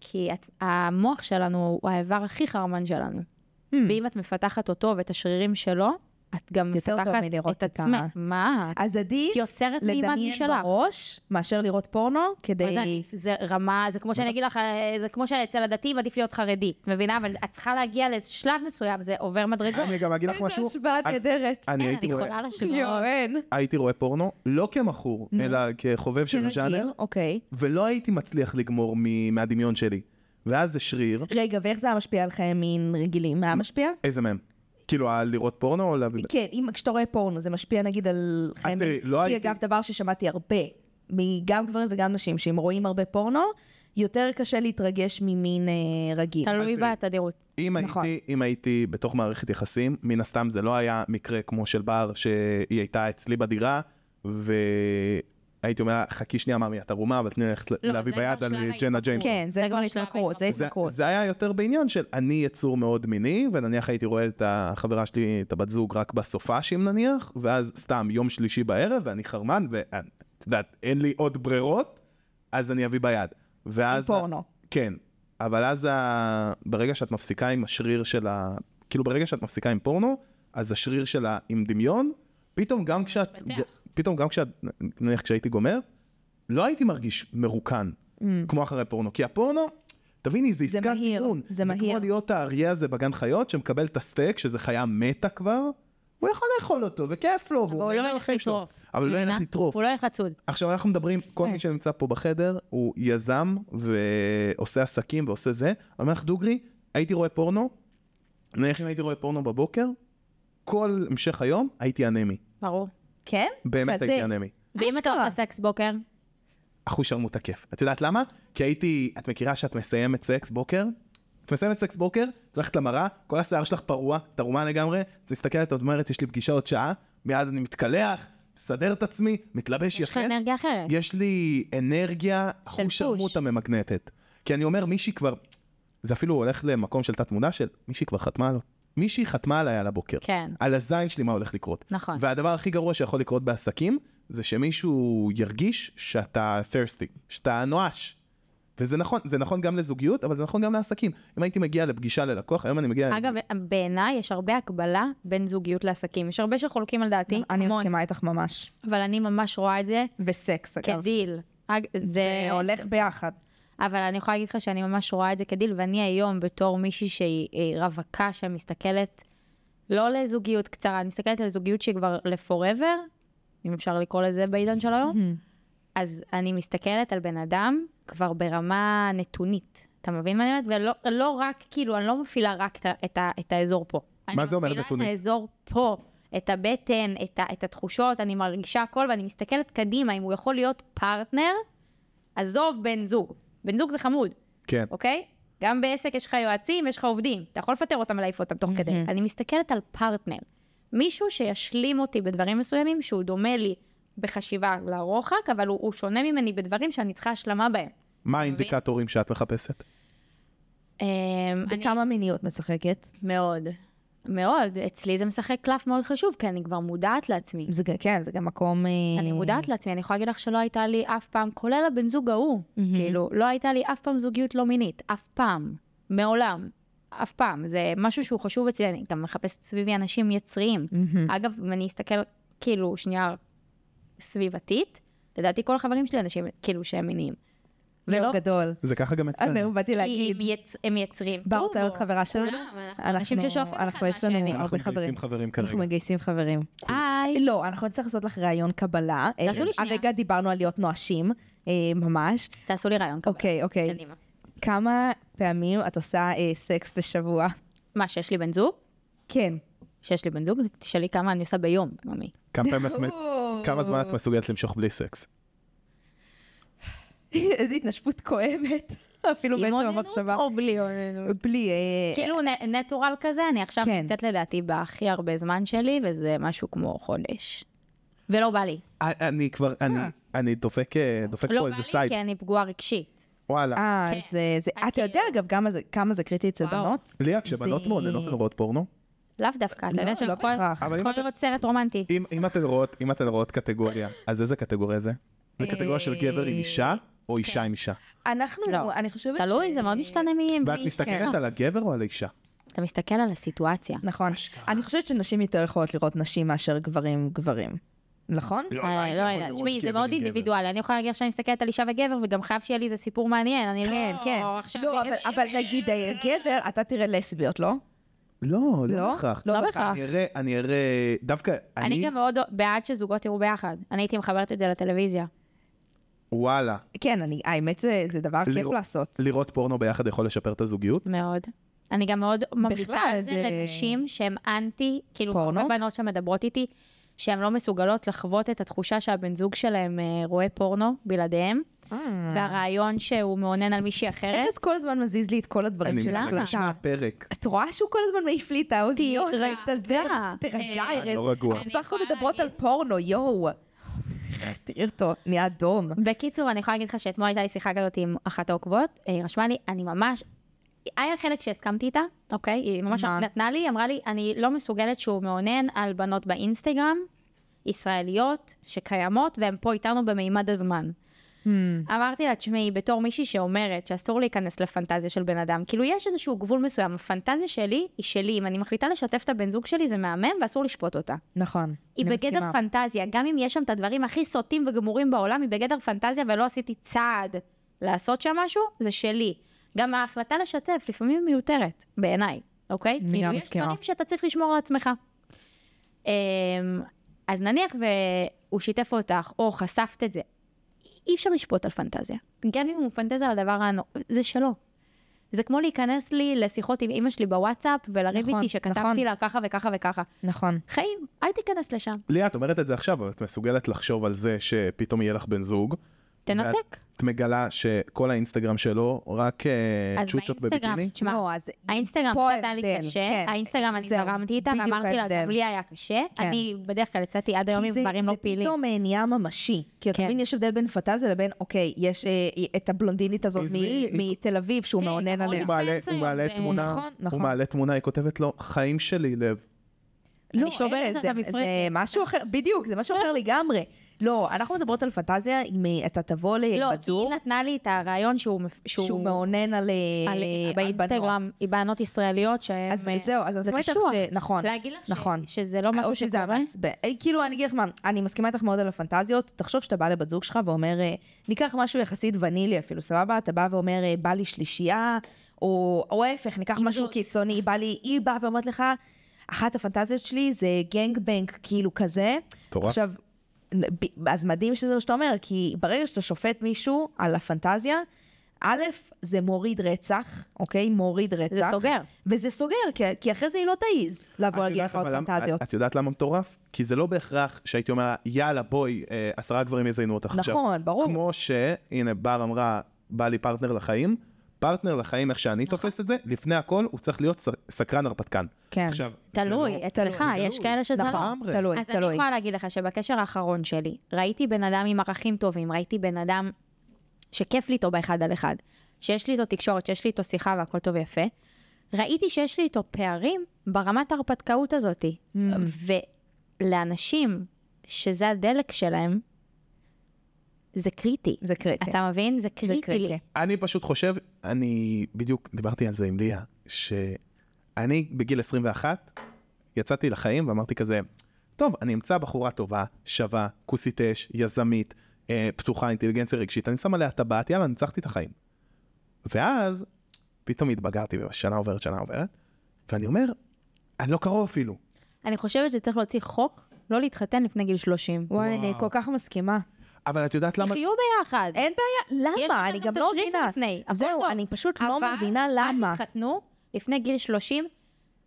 כי את, המוח שלנו הוא האיבר הכי חרמן שלנו. Hmm. ואם את מפתחת אותו ואת השרירים שלו, את גם יותר טוב מפתחת מלראות את את ה- עצמך. מה? אז עדיף את יוצרת מימד לדמיין משלך. בראש מאשר לראות פורנו מה זה כדי... עדיף? זה רמה, זה כמו שאני אגיד לך, אה, זה כמו שאצל הדתיים עדיף להיות חרדי, את מבינה? אבל את צריכה להגיע לשלב מסוים, זה עובר מדרגות. אני גם אגיד לך איזו משהו, השוואה אני- נהדרת. אני אה, הייתי אני רואה- חולה יואו, לשמוע. אין. הייתי רואה פורנו, לא כמכור, נו. אלא כחובב של Mm-hmm. כרגיל, הז'אנר, כן, אוקיי. ולא הייתי מצליח לגמור מ- מהדמיון שלי. ואז זה שריר, רגע, ואיך זה היה משפיע על חיי מין רגילים? מה היה משפיע? איזה מהם? כאילו, על לראות פורנו או להביא... כן, אם כשאתה רואה פורנו, זה משפיע נגיד על חיי מין. תראי, לא כי הייתי- אגב, דבר ששמעתי הרבה, מגם גברים וגם נשים, שאם רואים הרבה פורנו, יותר קשה להתרגש ממין אה, רגיל. תלוי אז תראי. בתדירות. אם נכון. הייתי, אם הייתי בתוך מערכת יחסים, מן הסתם זה לא היה מקרה כמו של בר שהיא הייתה אצלי בדירה, והייתי אומר לה, חכי שנייה, מאמי, את ערומה, אבל תני לי ללכת לא, להביא זה כבר ביד על שלב ג'נה ההתמכרות. ג'יימס. כן, זה זה כבר כבר שלב התמכרות, זה זה, התמכרות. זה היה יותר בעניין של אני יצור מאוד מיני, ונניח הייתי רואה את החברה שלי, את הבת זוג, רק בסופאשים נניח, ואז סתם יום שלישי בערב, ואני חרמן, ואת יודעת, אין לי עוד ברירות, אז אני אביא ביד. עם ואז... פורנו. כן, אבל אז ה... ברגע שאת מפסיקה עם השריר של ה... כאילו ברגע שאת מפסיקה עם פורנו, אז השריר שלה עם דמיון, פתאום גם כשאת... מתפתח. פתאום גם כשאת... נניח כשהייתי גומר, לא הייתי מרגיש מרוקן, Mm. כמו אחרי פורנו. כי הפורנו, תביני, זה עסקת מהיר, טיעון. זה זה מהיר. כמו להיות האריה הזה בגן חיות, שמקבל את הסטייק, שזה חיה מתה כבר, הוא יכול לאכול אותו, וכיף לו, והוא אבל הוא לא נהנה ילך מהחיים שלו. לטרוף. אבל הוא לא ילך מבינה? לטרוף. הוא לא ילך לצוד. עכשיו אנחנו מדברים, כל מי שנמצא פה בחדר הוא יזם ועושה עסקים ועושה זה. אני אומר לך דוגרי, הייתי רואה פורנו, נניח אם הייתי רואה פורנו בבוקר, כל המשך היום הייתי אנמי. ברור. כן? באמת כזה. הייתי אנמי. ואם אתה אשכרה. עושה סקס בוקר? אחוז שרמוט תקף. את יודעת למה? כי הייתי, את מכירה שאת מסיימת סקס בוקר? את מסיימת סקס בוקר, את הולכת למראה, כל השיער שלך פרוע, תרומה לגמרי, את מסתכלת, את אומרת, יש לי פגישה עוד שעה, מיד אני מתקלח, מסדר את עצמי, מתלבש יש לך יפה. אנרגיה אחרת. יש לי אנרגיה פוש. חוש ערמותה ממגנטת. כי אני אומר, מישהי כבר, זה אפילו הולך למקום של תת-מודע של מישהי כבר חתמה עליו. מישהי חתמה עליי על הבוקר. כן. על הזין שלי מה הולך לקרות. נכון. והדבר הכי גרוע שיכול לקרות בעסקים, זה שמישהו ירגיש שאתה thirsty, שאתה נואש. וזה נכון, זה נכון גם לזוגיות, אבל זה נכון גם לעסקים. אם הייתי מגיע לפגישה ללקוח, היום אני מגיע... אגב, בעיניי יש הרבה הקבלה בין זוגיות לעסקים. יש הרבה שחולקים על דעתי, אני המון. מסכימה איתך ממש. אבל אני ממש רואה את זה וסקס, כן, אגב. כדיל. אג- זה הולך ביחד. אבל אני יכולה להגיד לך שאני ממש רואה את זה כדיל, ואני היום בתור מישהי שהיא אה, רווקה, שמסתכלת לא לזוגיות קצרה, אני מסתכלת על זוגיות שהיא כבר לפוראבר, אם אפשר לקרוא לזה בעידן של היום, Mm-hmm. אז אני מסתכלת על בן אדם כבר ברמה נתונית. אתה מבין מה אני אומרת? ולא לא רק, כאילו, אני לא מפעילה רק את, ה- את, ה- את האזור פה. מה זה אומר אני מפעילה נתונית? את האזור פה, את הבטן, את, ה, את התחושות, אני מרגישה הכל, ואני מסתכלת קדימה, אם הוא יכול להיות פרטנר, עזוב בן זוג. בן זוג זה חמוד, כן. אוקיי? גם בעסק יש לך יועצים, יש לך עובדים. אתה יכול לפטר אותם ולהעיף אותם תוך כדי. אני מסתכלת על פרטנר. מישהו שישלים אותי בדברים מסוימים, שהוא דומה לי בחשיבה לרוחק, אבל הוא, הוא שונה ממני בדברים שאני צריכה השלמה בהם. מה האינדיקטורים שאת מחפשת? אמ, אני וכמה מיניות משחקת? מאוד. מאוד. אצלי זה משחק קלף מאוד חשוב, כי אני כבר מודעת לעצמי. זה גם- כן, זה גם מקום... אה, אני מודעת לעצמי, אני יכולה להגיד לך שלא הייתה לי אף פעם, כולל הבן זוג ההוא, כאילו, לא הייתה לי אף פעם זוגיות לא מינית, אף פעם, מעולם, אף פעם. זה משהו שהוא חשוב אצלי, אני גם מחפשת סביבי אנשים יצריים. אגב, אם אני אסתכל, כאילו, שנייה סביבתית, לדעתי כל החברים שלי אנשים, כאילו, שהם מיניים. ולא ולא, לא גדול. זה ככה גם אצלנו. אני באתי לא. כי להגיד. הם, יצ... הם יצרים. בר טוב, רוצה להיות או- חברה שלנו? כולם, אנחנו אנחנו- אנשים ששואפים אחד אנחנו- יש לנו- מהשני. הרבה אנחנו מגייסים חברים. חברים כרגע. אנחנו מגייסים חברים. Oh, היי, אליי. לא, אנחנו נצטרך לעשות לך ראיון קבלה. אה, תעשו לי שנייה. הרגע דיברנו על להיות נואשים, אה, ממש. תעשו לי רעיון קבלה. אוקיי, אוקיי. קדימה. כמה פעמים את עושה אה, סקס בשבוע? מה, שיש לי בן זוג? כן. שיש לי בן זוג? תשאלי כמה אני עושה ביום, ממי. כמה פעמים את... מ- [LAUGHS] כמה זמן את מסוגלת למשוך בלי סקס? איזו התנשפות כואבת. [LAUGHS] אפילו עם בעצם אוננות המחשבה. או בלי אוננות? בלי, אה, כאילו נ- נטורל כזה, אני עכשיו כן. נמצאת לדעתי בהכי הרבה זמן שלי, וזה משהו כמו חודש. ולא בא לי. אה, אני כבר, אני, אני דופק, אה, דופק לא פה בא איזה לי סייד, כי אני פגועה רגשית. וואלה. אה, כן. זה... זה- אז אתה יודע, כאילו- אגב, כמה זה- כמה זה קריטי אצל וואו. בנות? ליה, כשבנות זה- מעוננות הן רואות פורנו, לאו דווקא, אתה לא, יודע לא שלכל בהכרח. אבל אם כל אתם- לראות סרט רומנטי. אם, אם אתן רואות, אם אתן רואות קטגוריה, אז איזה קטגוריה זה? אה, זה קטגוריה של גבר עם אישה, או כן. אישה עם אישה? אנחנו, לא. אני חושבת ש... תלוי, זה מאוד משתנה מי... ואת מי- כן. מסתכלת על הגבר או על האישה? אתה מסתכל על הסיטואציה. נכון. אני חושבת שנשים יותר יכולות לראות נשים מאשר גברים גברים. נכון? אה, לא יודעת, תשמעי, זה מאוד אינדיבידואלי. אני יכולה להגיד שאני מסתכלת על אישה וגבר, וגם חייב שיהיה לי איזה סיפור מעניין. אני כן, לא- כן. עכשיו- לא, אבל- אבל נגיד אה, גבר, אתה תראה לסביות, לא? לא, לא לא? בהכרח. לא בהכרח. אני אראה, אני אראה, דווקא אני אני, גם מאוד בעד שזוגות יראו ביחד. אני הייתי מחברת את זה לטלוויזיה. וואלה, כן, אני, האמת זה זה דבר כיף לראות- לעשות. לראות פורנו ביחד יכול לשפר את הזוגיות? מאוד. אני גם מאוד ממליצה בכלל, על זה זה- לנשים שהן אנטי, כאילו, פורנו? הרבה בנות שמדברות איתי, שהן לא מסוגלות לחוות את התחושה שהבן זוג שלהם אה, רואה פורנו בלעדיהם, אה. אה. והרעיון שהוא מאונן על מישהי אחרת. ארז כל הזמן מזיז לי את כל הדברים אני של למה? מתרגש ההקלטה. מהפרק. את רואה שהוא כל הזמן מעיף לי את האוזניות, תירגע. מעיף את הזה. תירגע, אה, אני ארז. לא רגוע. אני בסך הכל יכולה מדברות על להגיד- פורנו, יואו. תראי אותו, נהיה אדום. בקיצור, אני יכולה להגיד לך שאתמול הייתה לי שיחה כזאת עם אחת העוקבות, אה, היא רשמה לי, אני ממש... היה חלק שהסכמתי איתה, אוקיי? היא ממש מה? נתנה לי, אמרה לי, אני לא מסוגלת שהוא מאונן על בנות באינסטגרם, ישראליות, שקיימות, והן פה איתנו במימד הזמן. Hmm. אמרתי לה, תשמעי, בתור מישהי שאומרת שאסור להיכנס לפנטזיה של בן אדם, כאילו יש איזשהו גבול מסוים, הפנטזיה שלי היא שלי, אם אני מחליטה לשתף את הבן זוג שלי זה מהמם ואסור לשפוט אותה. נכון. היא אני בגדר מסכימה. פנטזיה, גם אם יש שם את הדברים הכי סוטים וגמורים בעולם, היא בגדר פנטזיה ולא עשיתי צעד לעשות שם משהו, זה שלי. גם ההחלטה לשתף לפעמים היא מיותרת, בעיניי, אוקיי? אני גם מסכימה. יש דברים שאתה צריך לשמור על עצמך. אמ, אז נניח והוא שיתף אותך, או חשפת את זה, אי אפשר לשפוט על פנטזיה. גם אם הוא מפנטז על הדבר הנור... זה שלו. זה כמו להיכנס לי לשיחות עם אימא שלי בוואטסאפ ולריב נכון, איתי שכתבתי נכון. לה ככה וככה וככה. נכון. חיים, אל תיכנס לשם. ליה, את אומרת את זה עכשיו, אבל את מסוגלת לחשוב על זה שפתאום יהיה לך בן זוג. תנתק. את מגלה שכל האינסטגרם שלו רק אה, אז צ'וצ'ות באינסטגרם, בביקיני? תשמע, לא, אז... האינסטגרם פה קצת היה לי ההבדל, קשה, כן. האינסטגרם אני זהו, זרמתי איתה בדיוק ואמרתי לה, ההבדל. גם לי היה קשה, כן. אני בדרך כלל יצאתי עד היום עם זה- גברים לא פעילים. זה פתאום אה, נהיה ממשי. כי אתה כן. מבין, יש הבדל בין פנטזיה לבין, אוקיי, יש אה, את הבלונדינית הזאת עזבי, מ- מתל אביב שהוא כן, מאונן אבל עליה. הוא מעלה, פרפרציות, הוא מעלה זה- תמונה, נכון, הוא נכון. מעלה תמונה, היא כותבת לו, חיים שלי לב. לא, אני שוברת אין, את זה- המפרקת. זה משהו אחר, בדיוק, זה משהו [LAUGHS] אחר לגמרי. לא, אנחנו מדברות על פנטזיה, אם אה, אתה תבוא לא, לבת היא זוג, נתנה לי את הרעיון שהוא מפ- שהוא שהוא מאונן על אה, על- על באינסטגרם, בנות. היא בנות ישראליות שהן... אז אה, זהו, אז אני זה מסכימה איתך קשוח. ש... נכון. להגיד לך ש- נכון. שזה לא או משהו שזה שקורה. מעצבן. אה, כאילו, אני אגיד לך מה, אני מסכימה איתך מאוד על הפנטזיות. תחשוב שאתה בא לבת זוג שלך ואומר, אה, ניקח משהו יחסית ונילי אפילו, סבבה? אתה בא ואומר, אה, בא לי שלישייה, או או ההפך, ניקח משהו זאת. קיצוני, בא לי, היא באה ואומרת לך, אחת הפנטזיות שלי זה גנג בנג, כאילו כזה. מטורף. עכשיו, נ- ב- אז מדהים שזה מה שאתה אומר, כי ברגע שאתה שופט מישהו על הפנטזיה, א', זה מוריד רצח, אוקיי? מוריד רצח. זה סוגר. וזה סוגר, כי, כי אחרי זה היא לא תעיז לבוא את להגיד יודעת לך עוד אבל למה- פנטזיות. את- את יודעת למה מטורף? כי זה לא בהכרח שהייתי אומר, יאללה, בואי, אה, עשרה גברים יזיינו אותך עכשיו. נכון, ברור. כמו שהנה, בר אמרה, בא לי פרטנר לחיים. פרטנר לחיים, איך שאני תופס את זה, לפני הכל, הוא צריך להיות ס- סקרן הרפתקן. כן. עכשיו, זה תלוי, לא- אצלך, זה יש תלוי. כאלה שזה לא. נכון, לגמרי. תלוי, אז אני תלוי. יכולה להגיד לך שבקשר האחרון שלי, ראיתי בן אדם עם ערכים טובים, ראיתי בן אדם שכיף לי איתו באחד על אחד, שיש לי איתו תקשורת, שיש לי איתו שיחה והכל טוב ויפה. ראיתי שיש לי איתו פערים ברמת ההרפתקאות הזאת. Mm. ולאנשים שזה הדלק שלהם, זה קריטי. זה קריטי. אתה מבין? זה כן. זה קריטי לי. קריטי. אני פשוט חושב, אני בדיוק דיברתי על זה עם ליה, שאני בגיל 21 יצאתי לחיים ואמרתי כזה, טוב, אני אמצא בחורה טובה, שווה, כוסית אש, יזמית, אה, פתוחה, אינטליגנציה רגשית, אני שם עליה טבעת, יאללה, ניצחתי את החיים. ואז פתאום התבגרתי, שנה עוברת, שנה עוברת, ואני אומר, אני לא קרוב אפילו. אני חושבת שצריך להוציא חוק לא להתחתן לפני גיל 30. וואי, אני כל כך מסכימה. אבל את יודעת למה... תחיו ביחד. אין בעיה, יש למה? אני לכם גם את לא השריץ מבינה. לפני, הכל זהו, טוב. אני פשוט לא אבל מבינה אל למה. תתחתנו לפני גיל 30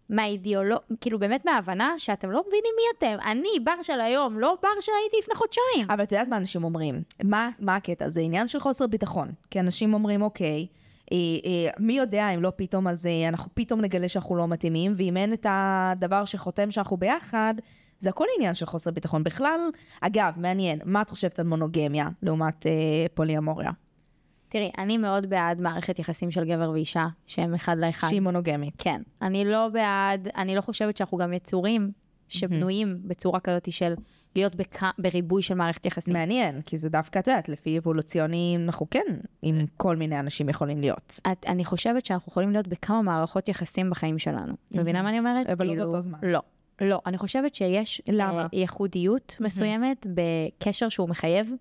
מהאידיאולוג, כאילו באמת מההבנה שאתם לא מבינים מי אתם. אני בר של היום, לא בר שהייתי לפני חודשיים. אבל את יודעת מה אנשים אומרים? מה, מה הקטע? זה עניין של חוסר ביטחון. כי אנשים אומרים, אוקיי, אה, אה, מי יודע אם לא פתאום, אז אה, אנחנו פתאום נגלה שאנחנו לא מתאימים, ואם אין את הדבר שחותם שאנחנו ביחד, זה הכל עניין של חוסר ביטחון. בכלל, אגב, מעניין, מה את חושבת על מונוגמיה לעומת אה, פוליאמוריה? תראי, אני מאוד בעד מערכת יחסים של גבר ואישה, שהם אחד לאחד. שהיא מונוגמית. כן. אני לא בעד, אני לא חושבת שאנחנו גם יצורים שבנויים בצורה כזאת של להיות בכ- בריבוי של מערכת יחסים. מעניין, כי זה דווקא, את יודעת, לפי אבולוציוני, אנחנו כן עם כל מיני אנשים יכולים להיות. את, אני חושבת שאנחנו יכולים להיות בכמה מערכות יחסים בחיים שלנו. את מבינה מה אני אומרת? אבל לא באותו זמן. לא. לא, אני חושבת שיש למה? אה, ייחודיות מסוימת בקשר שהוא מחייב.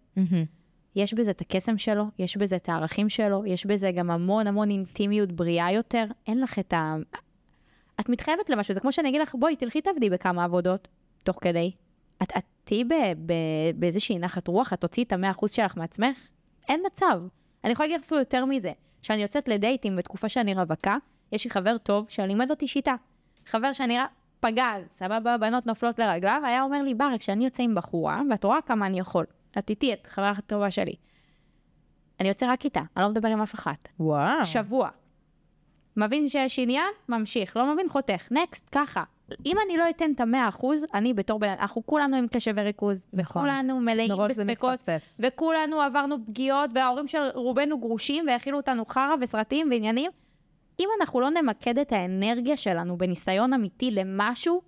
יש בזה את הקסם שלו, יש בזה את הערכים שלו, יש בזה גם המון המון אינטימיות בריאה יותר. אין לך את ה... את מתחייבת למשהו, זה כמו שאני אגיד לך, בואי, תלכי תעבדי בכמה עבודות, תוך כדי. את את תהיי ב- ב- באיזושהי נחת רוח, את תוציאי את המאה אחוז שלך מעצמך? אין מצב. אני יכולה להגיד לך אפילו יותר מזה. כשאני יוצאת לדייטים בתקופה שאני רווקה, יש לי חבר טוב שלימד אותי שיטה. חבר שנראה פגז, סבבה, בנות נופלות לרגליו, היה אומר לי, בר, כשאני יוצא עם בחורה, ואת רואה כמה אני יכול. את איתי, את חברה הכי טובה שלי. אני יוצא רק איתה, אני לא מדבר עם אף אחת. וואו. שבוע. מבין שיש עניין, ממשיך. לא מבין, חותך. נקסט, ככה. אם אני לא אתן את המאה אחוז, אני בתור בן אדם, אנחנו כולנו עם קשב וריכוז. נכון. וכולנו מלאים מראש זה בספקות. מתפספס. וכולנו עברנו פגיעות, וההורים של רובנו גרושים, והאכילו אותנו חרא וסרטים ועניינים. אם אנחנו לא נמקד את האנרגיה שלנו בניסיון אמיתי למשהו,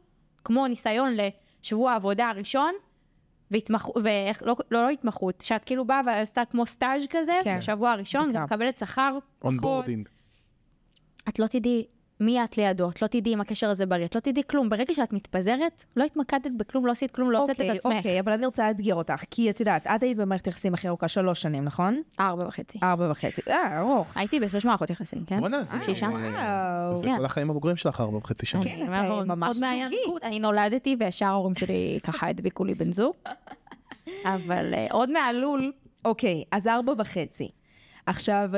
כמו ניסיון לשבוע העבודה הראשון, והתמחות, ואיך, לא, לא, לא התמחות, שאת כאילו באה ועשתה כמו סטאז' כזה, כן. כן. בשבוע הראשון, בדיקה. גם מקבלת שכר, פחות. אונבורדינג. את לא תדעי מי את לידו, את לא תדעי אם הקשר הזה בריא, את לא תדעי כלום. ברגע שאת מתפזרת, לא התמקדת בכלום, לא עשית כלום, לא הוצאת את עצמך. אוקיי, אבל אני רוצה לאתגר אותך, כי את יודעת, את היית במערכת יחסים הכי ארוכה שלוש שנים, נכון? ארבע וחצי. ארבע וחצי. אה, ארוך. אה, הייתי בשש מערכות יחסים, כן? בואנה, זה... שישה. זה- אה, זה כן. כל החיים הבוגרים שלך, ארבע וחצי שנים. כן, אני אתה אומרת, ממש עוד מעיין זוגית. קורט. אני נולדתי וישר ההורים שלי [LAUGHS] ככה הדביקו לי בן זוג. אבל אה, עוד מהלול, אוקיי, אז ארבע וחצי. עכשיו,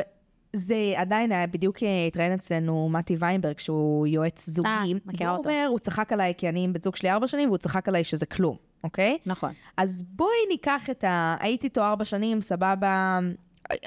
זה עדיין היה, בדיוק אה, התראיין אצלנו מתי ויינברג, שהוא יועץ זוגי. מכירה והוא אותו. אומר, הוא צחק עליי כי אני עם בת זוג שלי ארבע שנים, והוא צחק עליי שזה כלום, אוקיי? נכון. אז בואי ניקח את ה... הייתי איתו ארבע שנים, סבבה,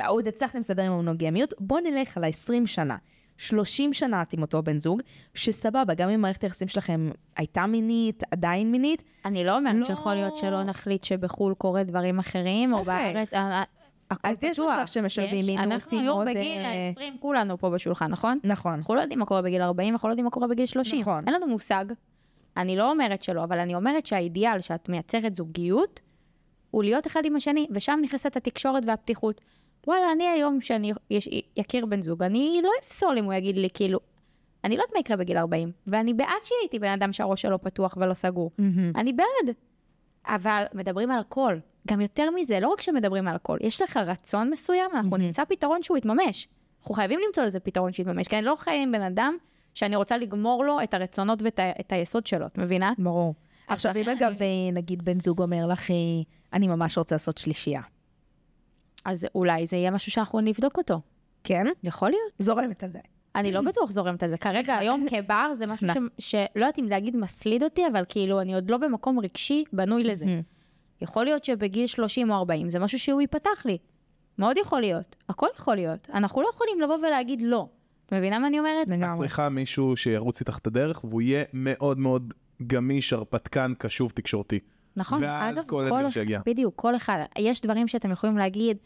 עוד הצלחתם לסדר עם המונוגמיות, בוא נלך על ה-20 שנה. 30 שנה את עם אותו בן זוג, שסבבה, גם אם מערכת היחסים שלכם הייתה מינית, עדיין מינית, אני לא אומרת לא. שיכול להיות שלא נחליט שבחול קורה דברים אחרים, או אוקיי. בארץ, אה, אה, הכל אז יש פתוח. מצב שמשלבים יש. מיניות אנחנו עם יור עוד, בגיל אה, ה-20 כולנו פה בשולחן, נכון? נכון. אנחנו לא יודעים מה קורה בגיל 40, אנחנו לא יודעים מה קורה בגיל 30. נכון. אין לנו מושג. אני לא אומרת שלא, אבל אני אומרת שהאידיאל שאת מייצרת זוגיות, הוא להיות אחד עם השני, ושם נכנסת התקשורת והפתיחות. וואלה, אני היום שאני יש, יכיר בן זוג, אני לא אפסול אם הוא יגיד לי, כאילו, אני לא יודעת מה יקרה בגיל 40, ואני בעד שיהיה איתי בן אדם שהראש שלו פתוח ולא סגור. אני בעד. אבל מדברים על הכל. גם יותר מזה, לא רק שמדברים על הכל, יש לך רצון מסוים, אנחנו נמצא פתרון שהוא יתממש. אנחנו חייבים למצוא לזה פתרון שיתממש, כי אני לא חיה עם בן אדם שאני רוצה לגמור לו את הרצונות ואת ה- את היסוד שלו, את מבינה? ברור. עכשיו, אם לכן אגב, אה, נגיד בן זוג אומר לך, אה, אני ממש רוצה לעשות שלישייה. אז אולי זה יהיה משהו שאנחנו נבדוק אותו. כן? יכול להיות. זורמת על זה. אני לא בטוח זורמת על זה. כרגע, היום כבר, זה משהו ש- שלא יודעת אם להגיד מסליד אותי, אבל כאילו, אני עוד לא במקום רגשי בנוי לזה. יכול להיות שבגיל 30 או 40 זה משהו שהוא ייפתח לי. מאוד יכול להיות, הכל יכול להיות. אנחנו לא יכולים לבוא ולהגיד לא. את מבינה מה אני אומרת? את צריכה מישהו שירוץ איתך את הדרך, והוא יהיה מאוד מאוד גמיש, הרפתקן, קשוב, תקשורתי. נכון. ואז אגב, כל כל הדרך אח- שיגיע. בדיוק, כל אחד. יש דברים שאתם יכולים להגיד,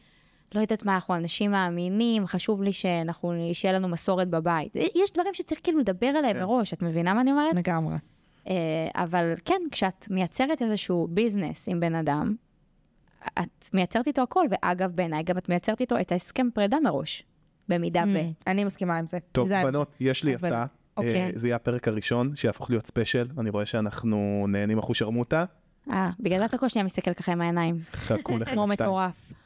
לא יודעת מה, אנחנו אנשים מאמינים, חשוב לי שאנחנו, שיהיה לנו מסורת בבית. יש דברים שצריך כאילו לדבר עליהם כן. מראש, את מבינה מה אני אומרת? לגמרי. אה, אבל כן, כשאת מייצרת איזשהו ביזנס עם בן אדם, את מייצרת איתו הכל, ואגב, בעיניי גם את מייצרת איתו את ההסכם פרידה מראש, Mm. במידה ו... אני מסכימה עם זה. טוב, זה- בנות, יש לי אבל- הפתעה. אוקיי. אה, זה יהיה הפרק הראשון שיהפוך להיות ספיישל, אני רואה שאנחנו נהנים אחושרמוטה. אה, בגלל זה אתה כל שניה מסתכל ככה עם העיניים. חכו לכם. כמו מטורף.